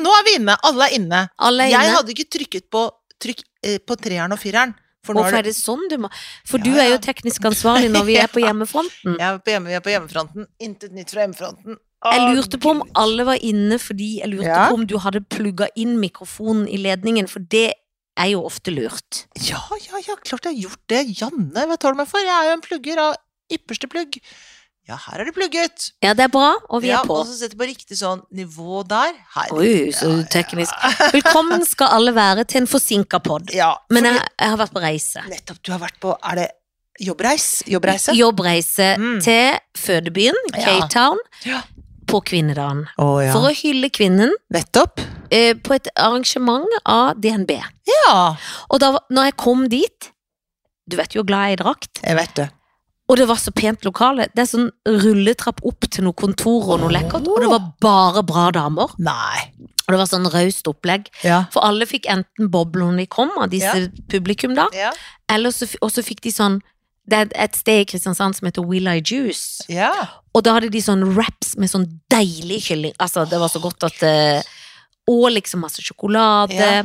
Nå er vi inne! Alle er inne. Alle er Jeg inne. hadde ikke trykket på, trykk, eh, på treeren og fireren. For nå er Hvorfor er det, det sånn du må For Ja, du er ja. jo teknisk ansvarlig når vi er på hjemmefronten. jeg er på hjemme, vi er på hjemmefronten. Intet nytt fra hjemmefronten. Å, Jeg lurte på om Gud. alle var inne fordi jeg lurte Ja. på om du hadde plugga inn mikrofonen i ledningen, for det er jo ofte lurt. Ja, ja, ja, klart jeg har gjort det. Janne, hva tar du meg for? Jeg er jo en plugger av ypperste plugg. Ja, her er det plugget. Ja, det er bra, og vi ja, er på. Og så setter på riktig sånn nivå der. Her. Oi, så teknisk. Velkommen skal alle være til en forsinka pod. Ja, Men fordi jeg, jeg har vært på reise. nettopp du har vært på Er det jobbreis? Jobbreise? Jobbreise Mm. til fødebyen, Ja. Cape Town, Ja. på kvinnedagen. Å ja. For å hylle kvinnen Nettopp. eh, på et arrangement av DNB. Ja, Og da var- når jeg kom dit Du vet jo hvor glad jeg er i drakt. jeg vet det. Og det var så pent lokale. Det er sånn rulletrapp opp til noe kontor og noe lekkert. Og det var bare bra damer. Nei. Og det var sånn raust opplegg. Ja. For alle fikk enten boble når de kom, av disse Ja. publikum, da. Ja. Eller så, f- og så fikk de sånn Det er et sted i Kristiansand som heter Will I Juice. ja. Og da hadde de sånn wraps med sånn deilig kylling. Altså, det var så godt at eh, Og liksom masse sjokolade, Ja.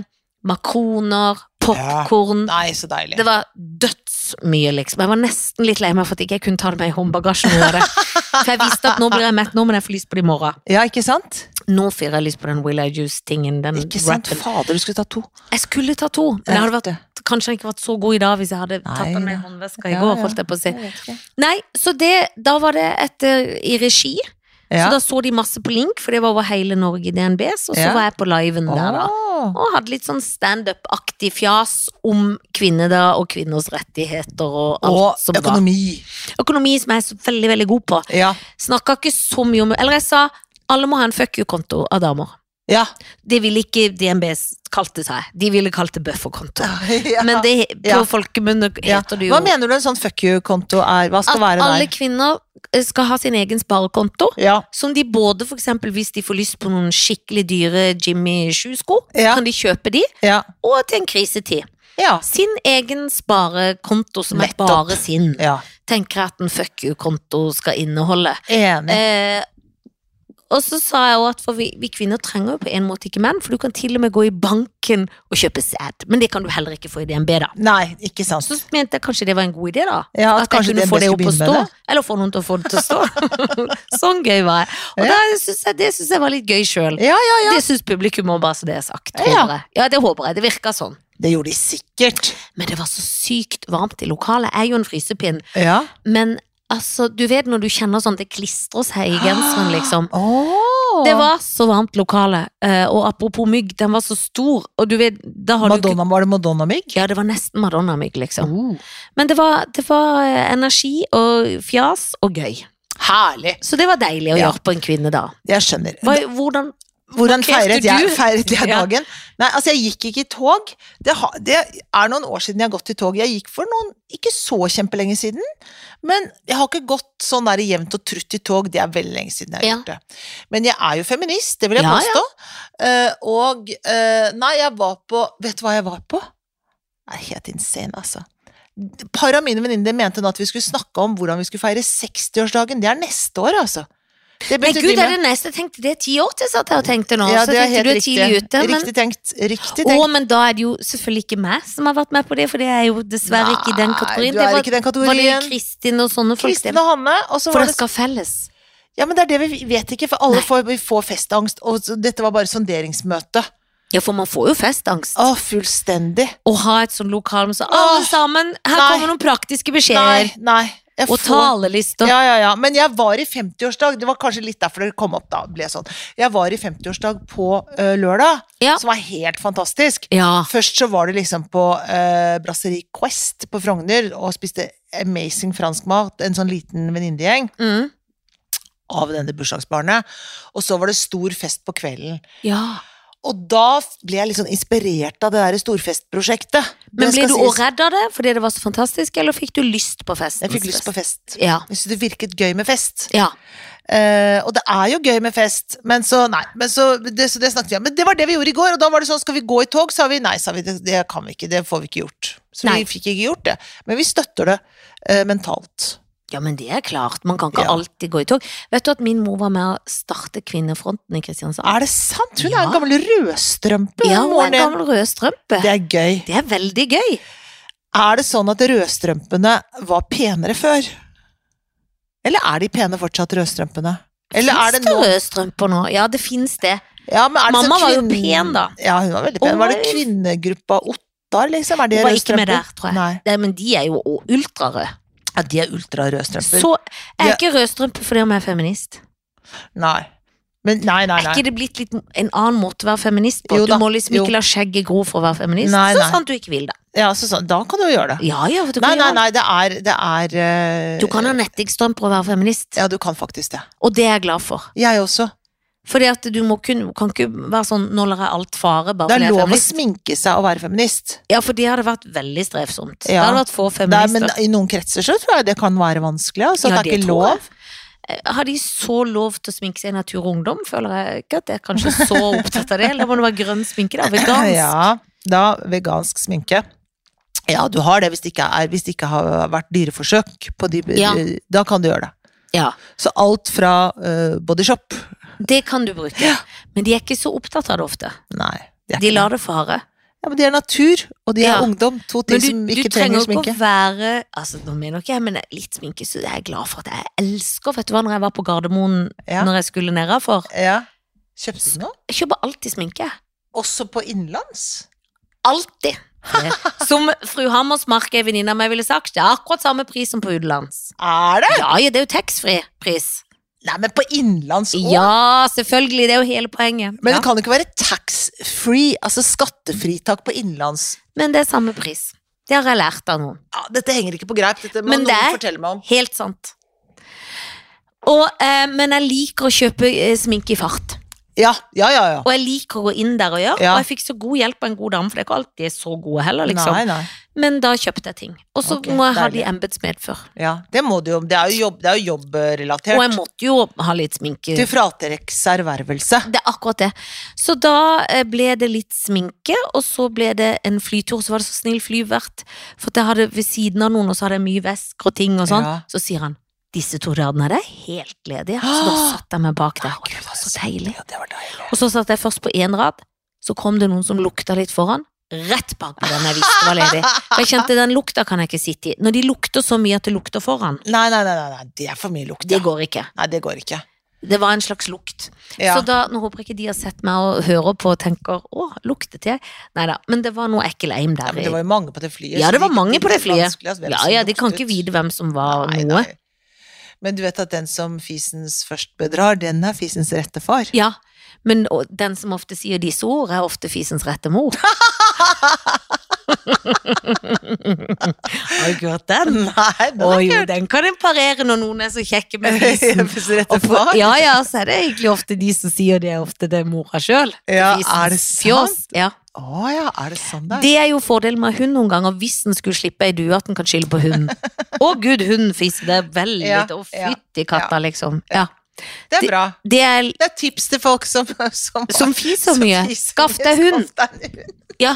makroner, popkorn. Nei, så deilig. Det var dødsmye, liksom. Jeg var nesten litt lei meg for at ikke jeg kunne ta det med i håndbagasjen. og gjøre det. For jeg visste at nå blir jeg mett, nå men jeg får lyst på det i morgen. Ja, ikke sant? Nå får jeg lyst på den Will I Juice-tingen. den Ikke sant? wrappen. Fader, du skulle ta to. Jeg skulle ta to, men jeg hadde vært, Jeg kanskje jeg ikke vært så god i dag hvis jeg hadde tatt den med i Neida. håndveska i Ja, går. ja. holdt jeg på å si. vet ikke. Nei, så det, da var det etter i regi, Ja. så da så de masse på link, for det var over hele Norge i DNB, så så Ja. var jeg på liven der da. Åh. Og hadde litt sånn stand-up-aktig fjas om kvinner da, og kvinners rettigheter og alt Og som var. økonomi. Økonomi som jeg er så veldig, veldig god på. Ja. Snakket ikke så mye om, eller jeg sa, alle må ha en fuck you-konto av damer. Ja. Det ville ikke DNB kalte seg, de ville kalt det buffer-konto. Ja. Men det, på Ja. folkemunne Ja. heter det jo Hva mener du en sånn fuck you-konto er? Hva skal at være alle der? kvinner eh, skal ha sin egen sparekonto. Ja. Som de både, for eksempel hvis de får lyst på noen skikkelig dyre Jimmy Choo-sko, Ja. kan de kjøpe de, Ja. og til en krisetid. Ja. Sin egen sparekonto som er Nettopp. bare sin, ja. tenker jeg at en fuck you-konto skal inneholde. Enig. Eh, og så sa jeg jo at for vi, vi kvinner trenger jo på en måte ikke menn, for du kan til og med gå i banken og kjøpe sæd, men det kan du heller ikke få i DNB, da. Nei, ikke sant. Så mente jeg kanskje det var en god idé, da. Ja, At, jeg kunne DNB få det skulle opp å begynne stå. med det. Eller få noen til å få det til å stå. sånn gøy var jeg. Og Ja. da synes jeg, det syns jeg var litt gøy sjøl. Ja, ja, ja. Det syns publikum òg, bare så det er sagt. Ja. Håper jeg. Ja, det håper jeg. Det virka sånn. Det gjorde de sikkert. Men det var så sykt varmt i lokalet. Jeg er jo en frysepinn. Ja. Men altså, du vet når du kjenner sånn det klistrer seg Ah. i genseren, liksom. Åh. Det var så varmt lokale. Eh, Og apropos mygg, den var så stor, og du vet da har du ikke Madonna, Var det Madonna-mygg? ja, det var nesten Madonna-mygg, liksom. Men det var, det var eh, energi og fjas og gøy. Herlig. Så det var deilig å Ja. gjøre på en kvinne da. Jeg skjønner. Hva, hvordan Hvordan Markerte feiret jeg, du? feiret jeg Ja. dagen? Nei, altså jeg gikk ikke i tog. Det, ha, det er noen år siden jeg har gått i tog. Jeg gikk for noen ikke så kjempelenge siden, men jeg har ikke gått sånn der jevnt og trutt i tog. Det er veldig lenge siden jeg har Ja. gjort det. Men jeg er jo feminist, det vil jeg Ja, ja. påstå. Eh, og eh, nei, jeg var på Vet du hva jeg var på? Det er helt insane, altså. Et par av mine venninner mente nå at vi skulle snakke om hvordan vi skulle feire 60-årsdagen. Det er neste år, altså. Det Nei, begynte gud, de med. er det neste? Jeg tenkte det er ti år til, satt jeg og tenkte nå. Ja, så det er tenkte helt du er riktig. tidlig ute. Men, Riktig tenkt. Riktig å, tenkt. men da er det jo selvfølgelig ikke meg som har vært med på det, for det er jo dessverre ikke i den Nei, kategorien. Du er Det var, ikke i den var det kategorien. Kristin og sånne folk. Kristin og Hanne, og så for var det det skal felles. Ja, men det er det vi vet ikke, for alle Nei. får, vi får festangst, og så- dette var bare sonderingsmøte. Ja, for man får jo festangst. Å, fullstendig. Å ha et sånt lokal med så Åh, alle sammen, her nei. kommer noen praktiske Nei, beskjeder. nei. Jeg Og får- talelister. Ja, ja, ja. Men jeg var i 50-årsdag, det var kanskje litt derfor det kom opp da, ble sånn. Jeg var i 50-årsdag på ø, lørdag, Ja. Ah. som var helt fantastisk. Ja. Først så var det liksom på uh, Brasserie Quest på Frogner, og spiste amazing fransk mat, en sånn liten venninnegjeng. Mm. av denne bursdagsbarnet. Og så var det stor fest på kvelden. ja. Og da f- ble jeg litt sånn inspirert av det der storfestprosjektet. Det Men ble skal du sies. også redd av det fordi det var så fantastisk, eller fikk du lyst på festen? Jeg fikk lyst på fest. Ja. Jeg syntes det virket gøy med fest. ja. Eh, og det er jo gøy med fest, men så Nei. Men så, det, så det snakket vi om. Men det var det vi gjorde i går, og da var det sånn skal vi gå i tog, sa vi. Nei, sa vi. Det, det kan vi ikke. Det får vi ikke gjort. Så Nei. vi fikk ikke gjort det. Men vi støtter det eh, mentalt. Ja, men det er klart. Man kan ikke Ja. alltid gå i tog. Vet du at min mor var med å starte Kvinnefronten i Kristiansand? Er det sant? Hun er Ja. en gammel rødstrømpe. Ja, hun er moren en din. gammel rødstrømpe. Det er gøy. Det er veldig gøy. Er det sånn at rødstrømpene var penere før? Eller er de pene fortsatt, rødstrømpene? Eller er det Finnes nå det rødstrømper nå? Ja, det fins det. ja, men er det Mamma sånn var jo kvinn- pen, da. Ja, hun var veldig Og pen. Var det var- kvinnegruppa Ottar, liksom? Er det Hun var ikke med rødstrømper? der, tror jeg. Nei. Nei, men de er jo o- ultrarøde. Ja, de er ultrarødstrømper. Så Ja. jeg er ikke rødstrømpe fordi om jeg er feminist. Nei. Men nei, nei, Er nei. ikke det blitt litt en annen måte å være feminist på? Jo du da, må liksom jo. ikke la skjegget gro for å være feminist. Nei, så nei. sant du ikke vil, da. Ja, så sånn, da kan du jo gjøre det. Ja, ja, for du Nei, kan nei, gjøre det. nei, det er, det er eh, Du kan ha nettingstrømper og være feminist, Ja, du kan faktisk det. og det er jeg glad for. Jeg også. Fordi at du må kun, kan ikke være sånn 'nå lar jeg alt fare', bare Det er fordi jeg er lov å feminist. sminke seg og være feminist. Ja, for det hadde vært veldig strevsomt. Det Ja. hadde vært få Det er, men feminister. i noen kretser så tror jeg det kan være vanskelig. Altså, Ja, det er det ikke tror jeg. Eh, lov. Har de så lov til å sminke seg i Natur og Ungdom? Føler jeg ikke at jeg er kanskje så opptatt av det. Eller må det være grønn sminke, da? Vegansk. Ja, da vegansk sminke. Ja, du har det hvis det ikke, er, hvis det ikke har vært dyreforsøk. På de, Ja. Da kan du gjøre det. Ja, Så alt fra uh, bodyshop det kan du bruke. Men de er ikke så opptatt av det ofte. Nei. Det er De ikke lar det fare. Ja, men de er natur, og de er Ja. ungdom. To ting Men du, som du ikke trenger trenger jo ikke sminke. å være altså, Nå mener ikke jeg, men litt sminke så jeg er glad for at jeg elsker Vet du hva, når jeg var på Gardermoen Ja. når jeg skulle nedafor Ja. Kjøpte du noe? Jeg kjøper alltid sminke. Også på innenlands? Alltid. Som fru Hammersmark, ei venninne av meg, ville sagt, det er akkurat samme pris som på utenlands. Er det? Ja, ja, det er jo taxfree pris. Nei, men på innenlands òg? Ja, selvfølgelig, det er jo hele poenget. Men ja. det kan jo ikke være tax-free, altså skattefritak på innenlands. men det er samme pris. Det har jeg lært av noen. Ja, dette henger ikke på greip, dette må Men noen det er- fortelle meg om. Helt sant. Og, eh, men jeg liker å kjøpe eh, sminke i fart. Ja, ja, ja. ja. Og jeg liker å gå inn der og gjøre. Ja. Og jeg fikk så god hjelp av en god dame, for det er ikke alltid de er så gode heller, liksom. Nei, nei. Men da kjøpte jeg ting. Og så Ok, må jeg ha de deilig. embetsmed før. Ja, det må du jo. Det er jo jobb- det er jo jobbrelatert. Og jeg måtte jo ha litt sminke. Til fratrekks ervervelse. Det er akkurat det. Så da eh, ble det litt sminke, og så ble det en flytur. Så var det så snill flyvert, for at jeg hadde ved siden av noen, og så hadde jeg mye vesker og ting og sånn. Ja. Så sier han disse to radene her er helt ledige. Så da satt jeg meg bak der, og det var så deilig. Ja, det var deilig. Og så satt jeg først på én rad, så kom det noen som lukta litt foran. Rett bak på den jeg visste var ledig. For jeg kjente den lukta kan jeg ikke sitte i. Når de lukter så mye at det lukter foran, Nei, nei, nei, nei, nei, det er for mye lukt. det ja. går ikke. Nei, det går ikke. Det var en slags lukt. Ja. Så da, nå håper jeg ikke de har sett meg og hører på og tenker 'Å, luktet jeg?' Nei da, men det var noe ekkel eim Ja, der. men det var jo mange på det flyet. Ja, så det var gikk- mange på det var flyet. vanskelig, altså, hvem ja, som ja, de kan luktet. ikke vite hvem som var Nei, noe. nei. Men du vet at den som fisens først bedrar, den er fisens rette far. Ja, men og, den som ofte sier disse ord, er ofte fisens rette mor. har du ikke hørt den? Nei, den Å er jo, ikke den kan en parere når noen er så kjekke med fisen. fisens rette Og for, far. ja, ja, så er det egentlig ofte de som sier det, er ofte det er mora sjøl. Ja, er det sant? Ja. Å ja, er det sånn det er? Det er jo fordelen med hund noen ganger, hvis den skulle slippe ei due, at den kan skylde på hunden. Å gud, hunden fiser, det er veldig Ja, Å, ja, fytti katta, liksom. Ja. Det er bra. Det er Det er tips til folk som Som, som fiser som mye. fiser Skaff mye. deg hund! Skaff deg en hund. Ja.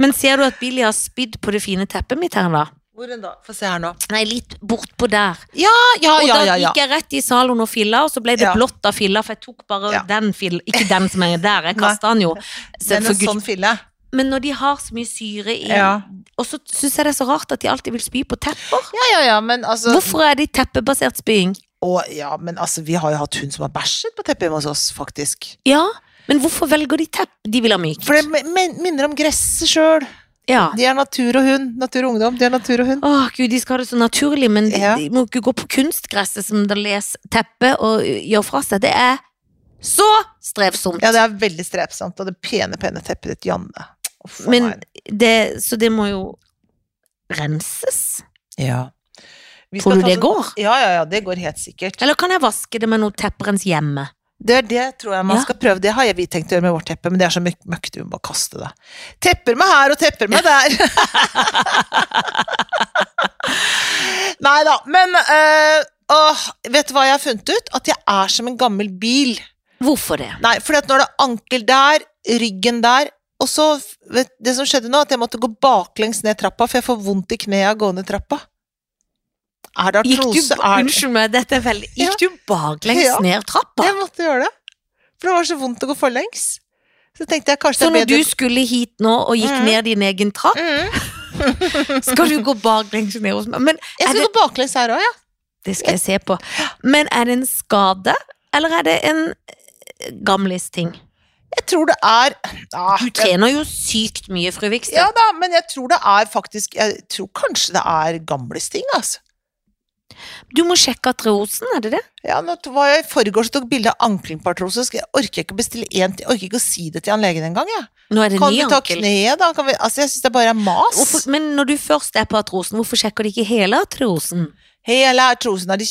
Men ser du at Billy har spydd på det fine teppet mitt her, da? Hvor er den da? Få se her nå. Nei, litt bortpå der. Ja, Og ja, da ja. ja. gikk jeg rett i salen og filla, og så ble det Ja. blått av filla, for jeg tok bare Ja. den filla, ikke den som er der, jeg Nei. kasta den jo. Så Men for en Gud. sånn fille. Men når de har så mye syre i Ja. Og så syns jeg det er så rart at de alltid vil spy på tepper. Ja, ja, ja, men altså Hvorfor er det teppebasert spying? Å, ja, men altså, vi har jo hatt hund som har bæsjet på teppet hjemme hos oss, faktisk. Ja, men hvorfor velger de tepp? De vil ha mykt. For det min- min- minner om gresset sjøl. Ja. De er natur og hund. Natur og ungdom. De er natur og hund. Åh, gud, de skal ha det så naturlig, men de, Ja. de må ikke gå på kunstgresset som de leser teppet og ø, gjør fra seg. Det er så strevsomt. Ja, det er veldig strepsomt. Og det pene, pene teppet ditt, Janne. Å, faen, men nei. det, så det må jo renses. ja. Vi skal Tror du ta det sånn- går? Ja, ja, ja, det går helt sikkert. Eller kan jeg vaske det med noe tepperens hjemme? Det er det tror jeg man Ja. skal prøve. Det har jeg, vi tenkt å gjøre med vårt teppe, men det er så møk- møkkete, vi må bare kaste det. Tepper meg her og tepper meg der. Nei da, men eh, åh, Vet du hva jeg har funnet ut? At jeg er som en gammel bil. Hvorfor det? Nei, for nå er det ankel der, ryggen der. Og så, vet, det som skjedde nå, at jeg måtte gå baklengs ned trappa, for jeg får vondt i kneet av å gå ned trappa. Er det Gikk du, artrose? Er det unnskyld meg, dette er veldig Ja. Gikk du baklengs Ja. ned trappa? Jeg måtte gjøre det. For det var så vondt å gå forlengs. Så tenkte jeg kanskje Så det når er du bedre skulle hit nå og gikk Mhm. ned din egen trapp, mm. skal du gå baklengs ned hos meg? Men Jeg er skal det, gå baklengs her òg, ja. det skal jeg se på. Men er det en skade, eller er det en eh, gamlisting? Jeg tror det er ah, Du jeg- trener jo sykt mye, fru Vikstø. Ja da, men jeg tror det er faktisk Jeg tror kanskje det er gamlesting, altså. Du må sjekke artrosen, er det det? Ja, nå t- var jeg i forgårs og tok bilde av ankelen på artrose. Skal- Jeg orker ikke å bestille en til. Jeg orker ikke å si det til han legen engang, jeg. Nå er det Kan ny du ta ankel. kneet, da? Kan vi, altså, jeg syns det bare er mas. Hvorfor, men når du først er på artrosen, hvorfor sjekker de ikke hele artrosen? Hele artrosen er de,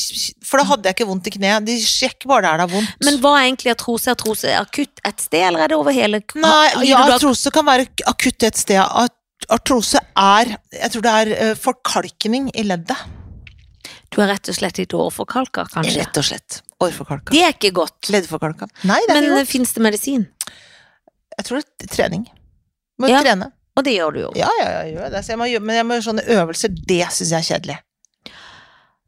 For da hadde jeg ikke vondt i kneet. De sjekker bare der det er vondt. Men hva er egentlig artrose? Artrose er akutt et sted, eller er det over hele kro- Nei, Lider ja, du av- artrose kan være ak- akutt et sted. At- Artrose er Jeg tror det er eh, forkalkning i leddet. Du er rett og slett litt årforkalka, kanskje? Rett og slett. Årforkalka. Det er ikke godt. Leddforkalka. Nei, det er Men ikke godt. fins det medisin? Jeg tror det er trening. Må Ja. trene. Og det gjør du jo. Ja, ja, ja, jeg gjør det. Så jeg må, gjøre- men jeg må gjøre sånne øvelser. Det syns jeg er kjedelig.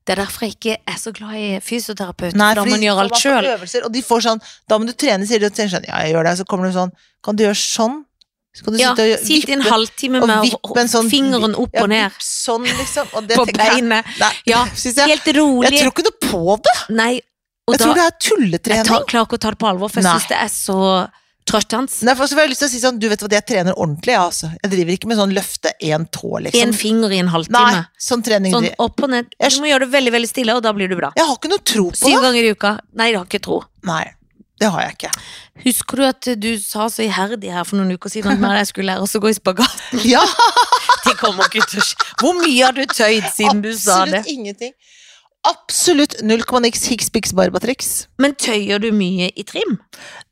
Det er derfor jeg ikke er så glad i fysioterapeut, Nei, for da fordi må man gjøre alt får sjøl. øvelser, Og de får sånn Da må du trene, sier de, og tenker sånn Ja, jeg gjør det. Så kommer det sånn Kan du gjøre sånn? Så kan du Ja, sitte og gjøre- sitt i en vippe- halvtime og med vippe en sånn- fingeren opp ja, og ned vipp Sånn, liksom. Og det på tenker jeg- beinet. Nei, Ja, synes jeg, Helt jeg rolig. tror ikke noe på det. Nei, og Jeg tror da det er Jeg tulletrening. tar, klarer ikke å ta det på alvor, for jeg Nei. syns det er så trøttende. Nei, for så får jeg lyst til å si sånn, du vet hva, jeg trener ordentlig, jeg, altså. Jeg driver ikke med sånn løfte én tå, liksom. En finger i en Nei, halvtime. sånn trening Sånn driver opp og ned. Jeg- Du må gjøre det veldig veldig stille, og da blir du bra. Jeg har ikke noe tro på Syv det. ganger i uka. Nei, jeg har ikke tro. Nei, det har jeg ikke. Husker du at du sa så iherdig her for noen uker siden at Mari, jeg skulle lære oss å gå i spagat? Ja, Det kommer ikke til å skje. Hvor mye har du tøyd siden du sa det? absolutt ingenting. Absolutt null komma niks hiks piks barbatriks. Men tøyer du mye i trim?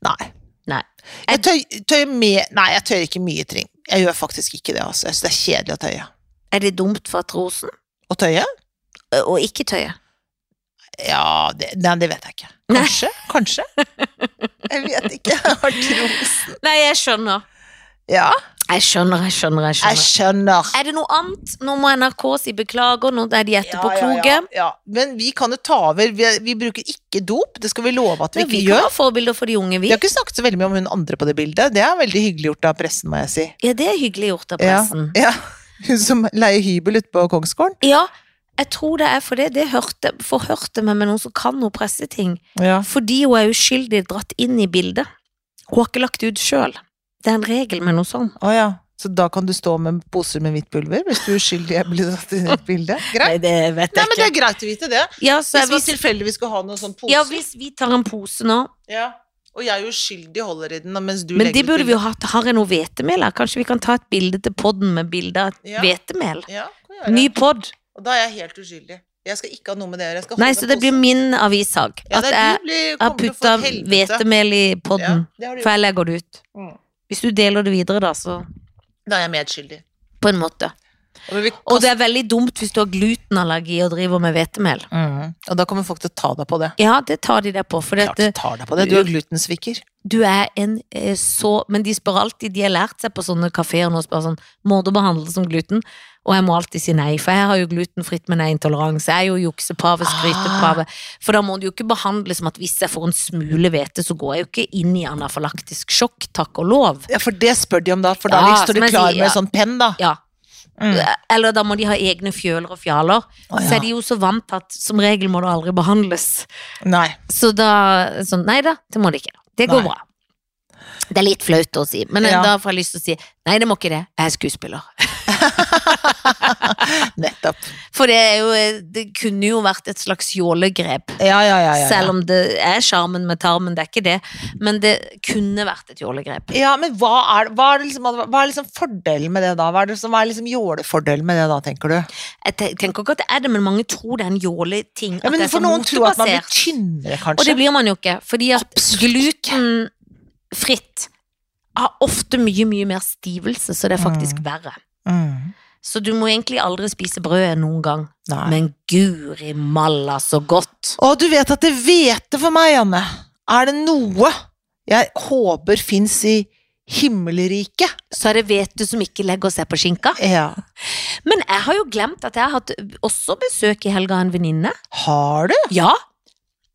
Nei. Nei. Jeg tøy, tøyer mer Nei, jeg tøyer ikke mye tring. Jeg gjør faktisk ikke det, altså. Jeg syns det er kjedelig å tøye. Er det dumt for artrosen Å tøye? ø, å ikke tøye? Ja, det, nei, det vet jeg ikke. Nei. Kanskje? Kanskje? Jeg vet ikke. Jeg har tro. Nei, jeg skjønner. Ja, Jeg skjønner, jeg skjønner, jeg jeg skjønner. skjønner. Er det noe annet? Nå må NRK si beklager, nå er de Ja, etterpåkloke. ja, ja, ja. Men vi kan jo ta over. Vi, vi bruker ikke dop, det skal vi love at vi Men ikke vi kan gjør. være forbilder for de unge, vi. Vi har ikke snakket så veldig mye om hun andre på det bildet. Det er veldig hyggelig gjort av pressen, må jeg si. Ja, det er hyggelig gjort av pressen. Ja, Hun som leier hybel ute på Kongsgården. Ja, jeg tror det er for det. Det hørte, forhørte meg med noen som kan noe presseting. Ja. Fordi hun er uskyldig dratt inn i bildet. Hun har ikke lagt det ut sjøl. Det er en regel med noe sånt. Å ja. Så da kan du stå med poser med hvitt pulver hvis du uskyldig er blitt tatt inn i et bilde? Greit. det vet Nei, men det er greit å vite det. Ja, så Hvis jeg vi var, tilfeldigvis skal ha noen sånn pose. ja, hvis vi tar en pose nå Ja. Og jeg er uskyldig holder i den da, mens du Men legger det ut burde vi bildet. jo hatt. Har jeg noe hvetemel her? Kanskje vi kan ta et bilde til podden med bilde av Ja. hvetemel? Ja, kan jeg gjøre. Ny pod. Og da er jeg helt uskyldig. Jeg skal ikke ha noe med det å gjøre. Jeg skal Nei, holde så det posen. blir min avissag. Ja, At det jeg du blir, har putta hvetemel i podden. For jeg legger det ut. Mm. Hvis du deler det videre, da, så Da er jeg medskyldig. På en måte. Og, vi Og det er veldig dumt hvis du har glutenallergi og driver med hvetemel. Mm. og da kommer folk til å ta deg på det. Ja, det tar de deg på, for Klart de at tar deg på det. Du er glutensviker. du er en eh, så Men de spør alltid, de har lært seg på sånne kafeer nå, spør sånn Må du behandles som gluten? Og jeg må alltid si nei, for jeg har jo glutenfritt, men jeg er intolerant. Så jeg er jo juksepave, skrytepave. Ah. For da må du jo ikke behandle som at hvis jeg får en smule hvete, så går jeg jo ikke inn i anafalaktisk sjokk, takk og lov. Ja, for det spør de om da, for da Ja, liksom står som de jeg klar sier, med ja. sånn penn, da. Ja. Mm. Eller da må de ha egne fjøler og fjaler. Å, ja. Så er de jo så vant til at som regel må du aldri behandles. Nei. Så da sånn, Nei da, det må det ikke. Det går Nei. bra. Det er litt flaut å si, men Ja. da får jeg lyst til å si nei, det må ikke det. Jeg er skuespiller. Nettopp. For det, er jo, det kunne jo vært et slags jålegrep. Ja, ja, ja. ja, ja. Selv om det er sjarmen med tarmen, det er ikke det. Men det kunne vært et jålegrep. ja, men hva er, hva, er det liksom, hva er liksom fordelen med det da? Hva er, det som, hva er liksom jålefordelen med det da, tenker du? Jeg te- tenker ikke at det er det, men mange tror det er en jåleting. Ja, men det er For så noen tror at man blir motebasert. tynnere, Og det kanskje. blir man jo ikke, fordi at glutenfritt har ofte mye, mye mer stivelse, så det er faktisk verre. Mm. Så du må egentlig aldri spise brød noen gang. Nei. Men guri malla så godt. Å, du vet at det hvete for meg, Janne, er det noe jeg håper fins i himmelriket? Så er det hvete som ikke legger seg på skinka. Ja. Men jeg har jo glemt at jeg har hatt også besøk i helga av en venninne. Har du? Ja.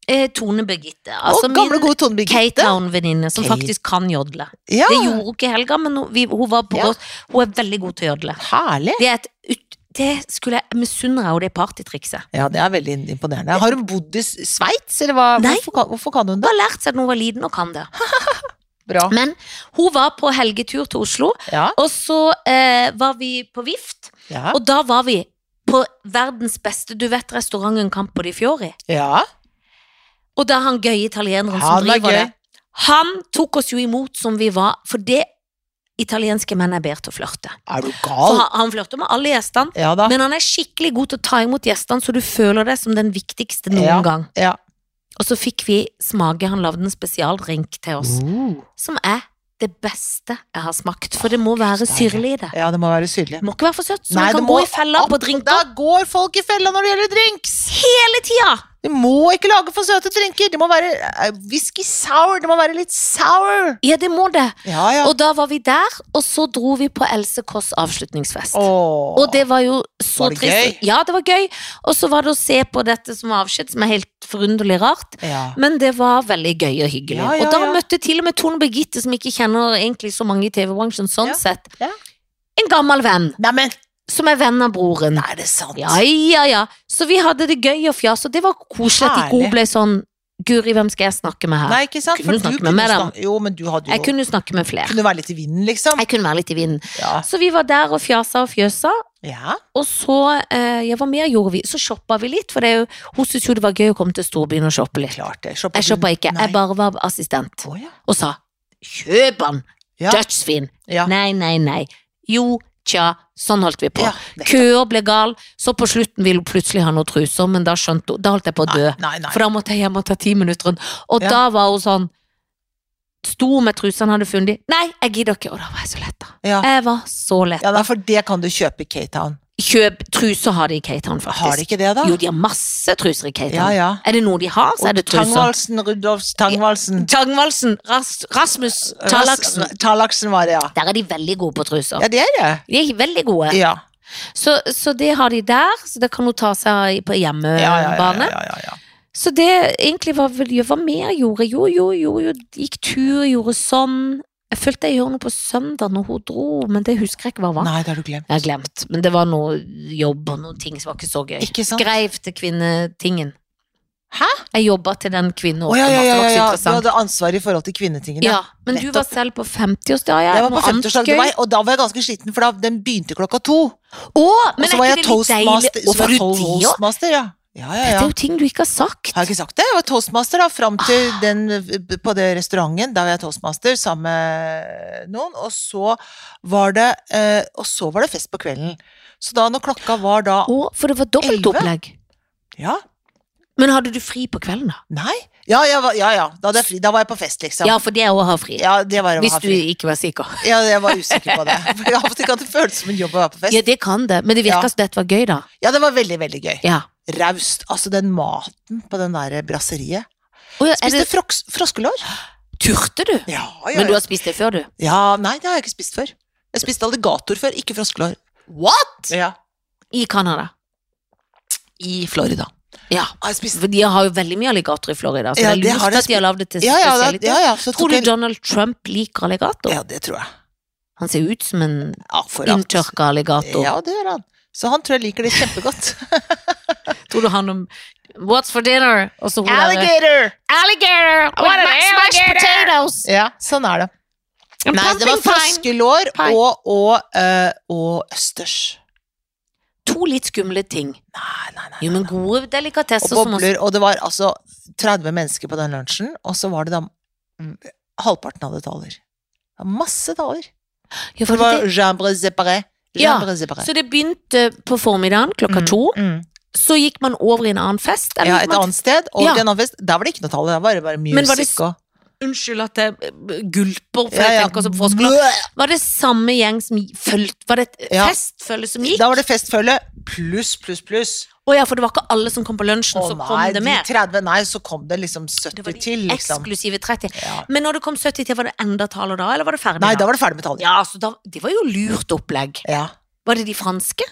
Eh, Tone Birgitte. Altså Å, gamle, min gode Tone Kate Birgitte. Town-venninne som Kate. faktisk kan jodle. Ja, Det gjorde hun ikke i helga, men hun, vi, hun var på Ja. vårt. Hun er veldig god til å jodle. herlig. Det, er et, ut- det skulle jeg misunner henne, det partytrikset. Ja, det er veldig imponerende. Har hun bodd i Sveits, eller hva? Nei. Hvorfor, kan- hvorfor kan hun Hun det? har lært seg det når hun var liten og kan det. Bra. Men hun var på helgetur til Oslo, Ja, og så eh, var vi på Vift, ja, og da var vi på verdens beste Du vet restauranten Campo di Fiori? ja. Og det er han gøye italieneren Han som er driver gøy. det. Han tok oss jo imot som vi var, for det italienske menn er bedre til å flørte. Er du For gal? han, han flørter med alle gjestene, Ja da. men han er skikkelig god til å ta imot gjestene, så du føler deg som den viktigste noen Ja. gang. Ja. Og så fikk vi smake, han lagde en spesialdrink til oss, Uh, som er det beste jeg har smakt, for det må være syrlig i det. Ja, det må være syrlig. Det må ikke være for søtt, så Nei, man det kan må- gå i fella på drinker Da går folk i fella når det gjelder drinks! hele tida. De må ikke lage for søte drinker. Det må være eh, whisky sour. Det må være litt sour. Ja, det må det. Ja, ja. Og da var vi der, og så dro vi på Else Kåss avslutningsfest. Åh. Og det var jo Var så det trist. Ja, det var gøy. Og så var det å se på dette som var avskjed, som er helt forunderlig rart. ja. Men det var veldig gøy og hyggelig. Ja, ja, og da ja. møtte til og med Tone Birgitte, som ikke kjenner egentlig så mange i TV-bransjen, Ja, sånn sett, ja. en gammel venn, Neimen, som er venn av broren. er det sant? Ja, ja, ja. Så vi hadde det gøy og fjas, og det var koselig at ikke Herlig. hun ble sånn Guri, hvem skal jeg snakke med her? Nei, ikke sant? Kunne du snakke med meg, da? snakke- Jo, men du hadde jo jeg kunne jo snakke med flere. kunne være litt i vinden, liksom. Jeg kunne være litt i vinden. Ja. Så vi var der og fjasa og fjøsa, ja. Og så, eh, ja, hva mer gjorde vi? Så shoppa vi litt, for det er jo, hun syntes jo det var gøy å komme til storbyen og shoppe litt. Klart det. Jeg shoppa ikke, jeg bare var assistent. Å, ja. Og sa 'kjøp den, Ja. dødsfin'. Ja. Nei, nei, nei. Jo, tja. Sånn holdt vi på. Ja, nettopp. Køer ble gal, så på slutten ville hun plutselig ha noen truser, men da skjønte hun, da holdt jeg på å dø. Nei, nei. nei. For da måtte jeg hjem og ta ti minutter. Og Ja. da var hun sånn Sto med trusene, hadde funnet de. Nei, jeg gidder ikke. Og da var jeg så letta. Ja. Jeg var så letta. Ja, nei, for det kan du kjøpe i Cape Town. Kjøp truser har de i Cape Town, faktisk. Har de ikke det, da? Jo, de har masse truser i Cape Ja, Town. ja. Er det noe de har, så er det truser. Tangvaldsen, Rudolfs Tangvaldsen. Tangvaldsen, Ras Rasmus, Tallaksen. Ras- Tallaksen var det, ja. Der er de veldig gode på truser. Ja, det er det. De er veldig gode. Ja. Så, så det har de der, så det kan hun ta seg i- på Ja, hjemmebane. ja, ja, ja, ja, ja. Så det egentlig var vel Hva mer gjorde jeg? Jo, jo, jo, jo, gikk tur, gjorde sånn. Jeg følte jeg gjorde noe på søndag når hun dro, men det husker jeg ikke hva var. Nei, det har du glemt. Jeg har glemt, men det var noe jobb og noen ting som var ikke så gøy. Ikke sant? Skreiv til kvinnetingen. Hæ? Jeg jobba til den kvinnen. Å, ja, ja, åpenbart. ja, Det var ja, ikke så ja. Du interessant. hadde ansvar i forhold til kvinnetingene. Ja, men du var nettopp. selv på 50-årsdag. Jeg var på 50-årsdag, det var- og da var jeg ganske sliten, for da, den begynte klokka to. Å, Og men så er var ikke jeg det litt toastmaster. deilig? Så var jeg Hvorfor du det òg? toastmaster, ja. Ja, ja, Dette ja. er jo ting du ikke har sagt. Har jeg ikke sagt det? Jeg var toastmaster da, fram til den på det restauranten. Da var jeg toastmaster sammen med noen, og så var det eh, Og så var det fest på kvelden. Så da når klokka var da Å, for det var Elleve? dobbeltopplegg. Ja, Men hadde du fri på kvelden, da? nei Ja, jeg var, ja, ja. Da, hadde jeg fri. da var jeg på fest, liksom. Ja, for det òg har fri. Ja, det var å Hvis ha du fri. ikke var sikker. Ja, jeg var usikker på det. For jeg har alltid hatt det føles som en jobb å være på Ja, fest. det kan det, men det virka Ja. som dette var gøy, da. Ja, det var veldig, veldig gøy. Ja. Raust. Altså, den maten på den der brasseriet. Å, ja, er Spiste det, froks, froskelår. turte du? Ja, ja, Men ja. du har spist det før, du? ja, nei, det har jeg ikke spist før. Jeg spiste alligator før, ikke froskelår. What?! Ja. I Canada. I Florida. Ja. Har jeg spist For de har jo veldig mye alligator i Florida, så Ja, det det er har de lurt at de har lagd det til Ja, ja, da, spesialitet. ja, ja. Så Tror tok du jeg Donald Trump liker alligator? Ja, det tror jeg. Han ser ut som en Ja, for at- inntørka alligator. Ja, det gjør han. Så han tror jeg liker det kjempegodt. Tror du han om What's for dinner? Og så hun derre- Alligator! Alligator! What an alligator! potatoes! Ja, sånn er det. And Nei, det var pumpkin pie. froskelår Pie. og, og, eh, og østers. To litt skumle ting. Nei, nei, nei. Jo, men gode delikatesser Og som også bobler. Og det var altså 30 mennesker på den lunsjen, og så var det da mm, halvparten av det taler. Det var Masse taler. Ja, For for det var det- jambre séparé. Ja, Jambre séparé. Så det begynte på formiddagen klokka Mm, to. mm. Så gikk man over i en annen fest. eller Ja, gikk et man- annet sted. Og Ja. til en annen fest. Der var det ikke noe tale, der var det bare Men var det music og Unnskyld at jeg eh, gulper, for Ja, jeg ja. tenker også på forskudd. Var det samme gjeng som fulgte Var det et Ja. festfølge som gikk? Da var det festfølge pluss, pluss, pluss. Å ja, for det var ikke alle som kom på lunsjen, Å så kom nei, det de med. 30, nei, så kom det liksom 70 Det var de til, liksom. eksklusive 30. Ja. Men når det kom 70 til, var det enda taler da, eller var det ferdig Nei, da da? var det ferdig med tallet. Ja, så da, det var jo lurt opplegg. Ja. Var det de franske?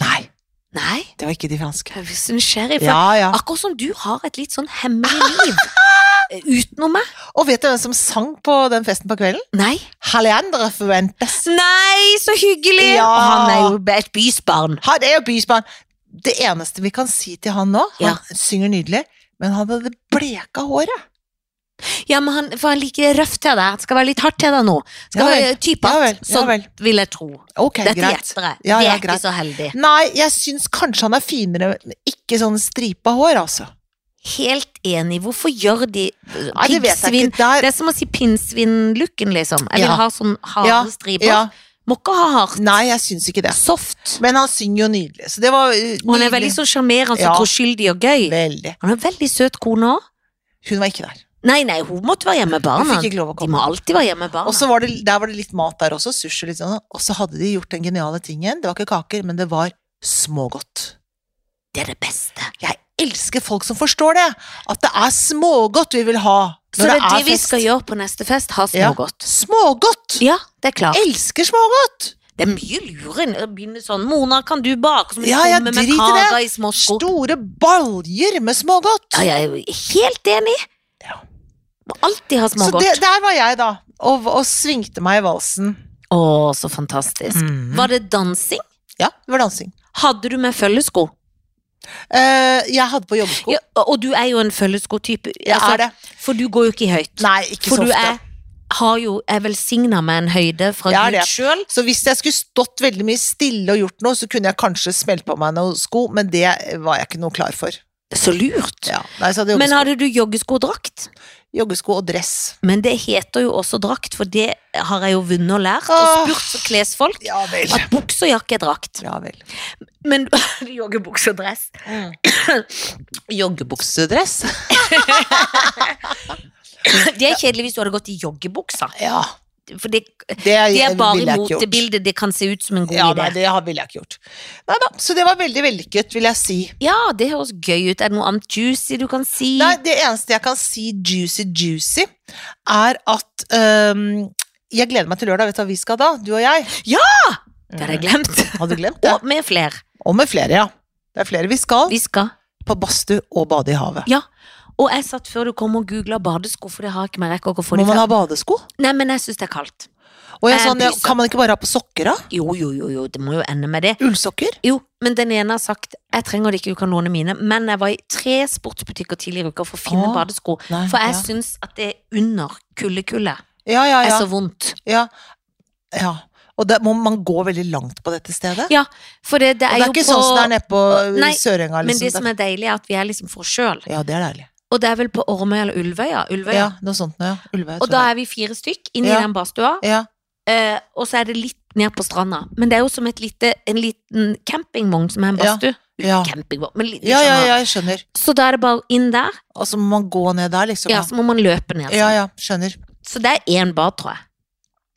Nei, Nei, det var ikke de franske. jeg er nysgjerrig. For Ja, ja. akkurat som du har et litt sånn hemmelig liv eh, utenom meg. Og vet du hvem som sang på den festen på kvelden? Nei. Haleandre Fuentes. Nei, så hyggelig! Ja. Og han er jo et bysbarn. Han er jo bysbarn. Det eneste vi kan si til han nå Han synger nydelig, men han hadde bleka håret. Ja, men han, for han liker røft til deg. Det skal være litt hardt til deg nå. Ja Skal vel, være Ja typete. vel. ja sånn vel. vil jeg tro. Ok, Dette greit. gjetter jeg. Ja, det ja, er greit. ikke så heldig. Nei, jeg syns kanskje han er finere, men ikke sånn stripa hår, altså. Helt enig. Hvorfor gjør de øh, Nei, det vet jeg pinnsvin ikke. Der Det er som å si pinnsvinlooken, liksom. Jeg vil Ja. ha sånn harde Ja, striper. ja. Må ikke ha hardt. Nei, jeg syns ikke det. Soft. Men han synger jo nydelig, så det var eh, Og han er veldig nydelig. sånn sjarmerende Ja. og troskyldig og gøy. Veldig. Han er en veldig søt kone òg. Hun var ikke der. Nei, nei, hun måtte være hjemme med Hun barna. fikk ikke lov å De må komme. alltid være hjemme med barna. Og så var det, der var det litt mat der også, sushi og litt sånn. Og så hadde de gjort den geniale tingen. Det var ikke kaker, men det var smågodt. det er det beste. Jeg elsker folk som forstår det. At det er smågodt vi vil ha når Så det er det vi fest. skal gjøre på neste fest. Ha Ja. smågodt. Smågodt! Ja, det er klart. Elsker smågodt! Det er mye lurere enn å begynne sånn Mona, kan du bake? Så må du Ja, ja, komme drit i med kaker i små sko. Store baljer med smågodt. Ja, jeg er helt enig. Ja. Må alltid ha Så smågodt. det, der var jeg, da. Og, og svingte meg i valsen. Å, så fantastisk. Mhm. Var det dansing? Ja, det var dansing. Hadde du med følgesko? Eh, jeg hadde på joggesko. Ja, og du er jo en følgeskotype. jeg er det. For du går jo ikke i høyt. Nei, ikke for så du ofte. er, har jo, er velsigna med en høyde fra Jeg er Gud det. sjøl. Så hvis jeg skulle stått veldig mye stille og gjort noe, så kunne jeg kanskje smelt på meg noen sko, men det var jeg ikke noe klar for. Så lurt. Ja. Nei, så hadde jeg Men joggesko, hadde du joggesko og drakt? joggesko og dress. Men det heter jo også drakt, for det har jeg jo vunnet og lært. Åh. Og spurt klesfolk Ja vel. at bukse og jakke er drakt. Ja vel. Men joggebukse og dress Mm. Joggebuksedress? Det er kjedelig hvis du hadde gått i joggebuksa. Ja. For det, Det, det er bare ville jeg ikke gjort. motebildet. Det kan se ut som en god Ja, idé. nei, det har- ville jeg ikke gjort. Nei da, så det var veldig vellykket, vil jeg si. Ja, det høres gøy ut. Er det noe annet juicy du kan si? Nei, det eneste jeg kan si juicy juicy, er at øhm, jeg gleder meg til lørdag. Vet du hva vi skal da, du og jeg? Ja! Det hadde jeg Mm. glemt. Har du glemt det? Og med flere. Og med flere, ja. Det er flere vi skal. Vi skal. På badstue og bade i havet. Ja. Og jeg satt før du kom og googla badesko, for det har jeg ikke mer rekker å få Må de man ha fra. badesko? Nei, men jeg syns det er kaldt. Og jeg Jeg sånn, ja, bryr seg. kan man ikke bare ha på sokker, da? Jo, jo, jo, jo, det må jo ende med det. Ullsokker? Jo, men den ene har sagt jeg trenger det ikke, du kan låne mine. Men jeg var i tre sportsbutikker tidligere i uka for å finne Åh. badesko. Nei, For jeg ja. syns at det under kuldekullet Ja, ja, er ja. så vondt. ja. ja. Og da må man gå veldig langt på dette stedet? Ja, for det, det Og er, det er jo ikke på sånn som det er nede på Nei, Sørenga, Men det som liksom. er deilig, er at vi er liksom for oss sjøl. Ja, det er deilig. Og det er vel på Ormøy eller Ulvøya. Ulvøya. Ja, noe sånt noe, ja. Ulveøy, Og tror da jeg. er vi fire stykk inne Ja. i den badstua, Ja. eh, og så er det litt ned på stranda. Men det er jo som et lite, en liten campingvogn som er en Ja. badstue. Ja. Campingvogn, men li- du ja, ja, skjønner. ja, jeg skjønner. Så da er det bare inn der, Og så må man gå ned der, liksom. ja, så må man løpe ned. ja, ja, skjønner. Så det er én bad, tror jeg.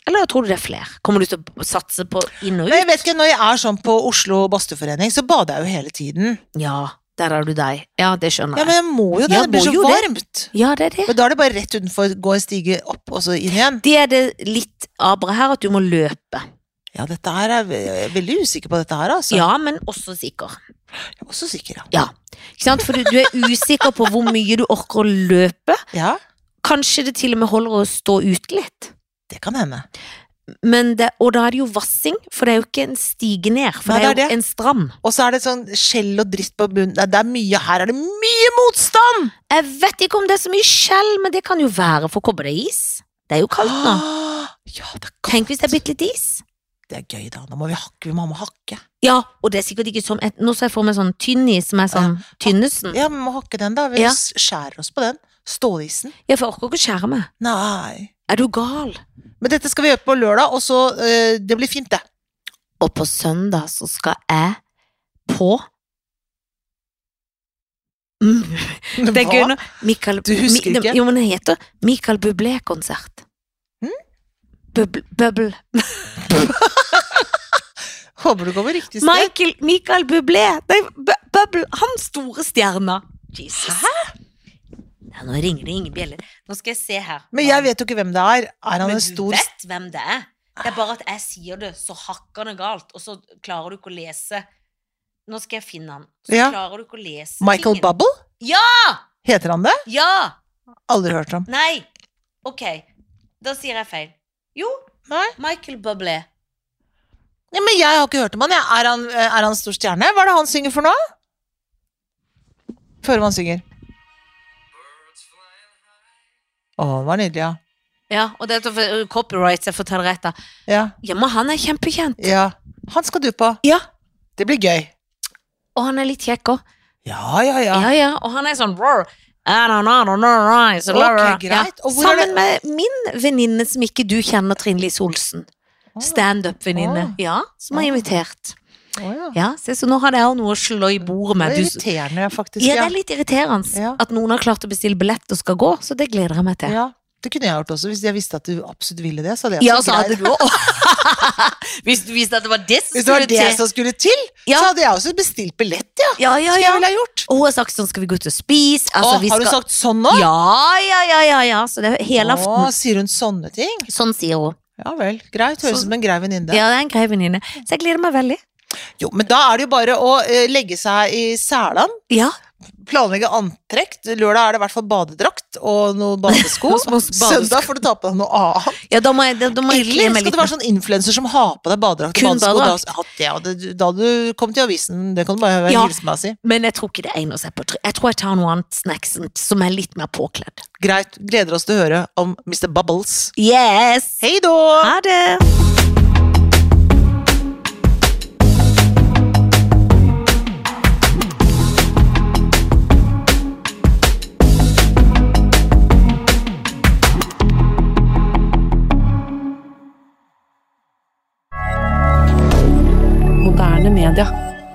Eller tror du det er flere? Kommer du til å satse på inn og Men jeg ut? vet ikke, når jeg er sånn på Oslo Badstueforening, så bader jeg jo hele tiden. Ja, der har du deg. Ja, det skjønner Ja, men jeg. jeg må jo det, Ja, det blir må så jo det. varmt. Ja, det er det. Men da er det bare rett utenfor, gå en stige opp, og så inn igjen. Det er det litt abra her, at du må løpe. Ja, dette her er jeg er veldig usikker på dette her, altså. Ja, men også sikker. Jeg er også sikker, ja. Ikke sant? For du, du er usikker på hvor mye du orker å løpe. Ja, Kanskje det til og med holder å stå ute litt. det kan hende. Men det, og da er det jo vassing, for det er jo ikke en stige ned, for Nei, det er jo det er det. en strand. Og så er det sånn skjell og dritt på bunnen. Nei, Det er mye her, er det mye motstand! Jeg vet ikke om det er så mye skjell, men det kan jo være for kobber det er is. Det er jo kaldt nå. Ah, Ja, det er kaldt. Tenk hvis det er bitte litt is. Det er gøy, da. Nå må vi hakke, vi må ha med hakke. Ja, og det er sikkert ikke som et, Nå ser jeg for meg sånn tynn is som er sånn tynnesen. Ja, vi må hakke den, da. Vi Ja. skjærer oss på den. Stålisen. Ja, for jeg orker ikke skjære meg. Nei. Er du gal? Men dette skal vi gjøre på lørdag, og så eh, Det blir fint, det. Og på søndag så skal jeg på Mm, Det er Hva? gøy nå. Michael, Du husker Mi- ikke? Jo, men det heter Michael Bublé-konsert. Mm? Bubble, bubble. Håper du kommer riktig sted. Michael, Michael Bublé! Det er bu- bubble, han store stjerna. Jesus. Ja, nå ringer det ingen bjeller. Nå skal jeg se her. Men jeg vet jo ikke hvem det er. Er han Men en du stor vet hvem det er. Det er bare at jeg sier det så hakkende galt, og så klarer du ikke å lese Nå skal jeg finne han. Så Ja. klarer du ikke å lese Michael tingen. Bubble? Ja! Heter han det? Ja! Aldri hørt om. Nei! Ok, da sier jeg feil. Jo, Nei. Michael Bublé. Ja, men jeg har ikke hørt om han. Jeg. Er, han eh, er han stor stjerne? Hva er det han synger for nå? Før han synger. Å, det var nydelig, ja. Ja, og dette er copyright, så jeg forteller rett da. ja. Ja, men han er kjempekjent. Ja. Han skal du på. Ja. Det blir gøy. Og han er litt kjekk òg. Ja, ja, ja. Ja. ja, Og han er sånn roar. I don't know, I don't know, right, so blah, Ok, blah, blah. greit. Ja. Og hvor er Sammen med min venninne som ikke du kjenner, Trine Lise Olsen. Å, Standup-venninne. Å. Ja, som har Å. invitert. å, ja. Ja, se, så nå har jeg òg noe å slå i Det bordet med. er Du, irriterende, ja, faktisk. ja, det er litt irriterende Ja. at noen har klart å bestille billett og skal gå, så det gleder jeg meg til. Ja, det kunne jeg gjort også. Hvis jeg visste at du absolutt ville det, så hadde jeg Ja, også så hadde greid. du også- Hvis du visste at det var det som Hvis det var skulle det til. som skulle til, Ja. så hadde jeg også bestilt billett, ja. Ja, ja, Som ja. jeg ville ha gjort. Og hun har sagt sånn, skal vi gå ut og spise? Altså, Å, vi har du skal... sagt sånn nå? Ja, ja, ja, ja, ja. Så det er hele Å, aften. sier hun sånne ting? Sånn sier hun. Ja vel, greit. Høres ut Så- som en grei venninne. Ja, det er en grei venninne. Så jeg gleder meg veldig. Jo, men da er det jo bare å eh, legge seg i selan, Ja. planlegge antrekk. Lørdag er det i hvert fall badedrakt og noen badesko. Noen små badesko. Søndag får du ta på deg noe annet. ja, da må jeg, da, da må jeg kle Eller meg skal litt. du være sånn influenser som har på deg badedrakt og Kun badesko? badedrakt. Da, ja, det, da du kom til avisen, det kan du bare Ja. hilse meg og si. Men jeg tror ikke det egner seg på tre. Jeg tror jeg tar noe annet snacks som er litt mer påkledd. Greit, gleder oss til å høre om Mr. Bubbles. Yes! Hei da! Ha det! Moderne media.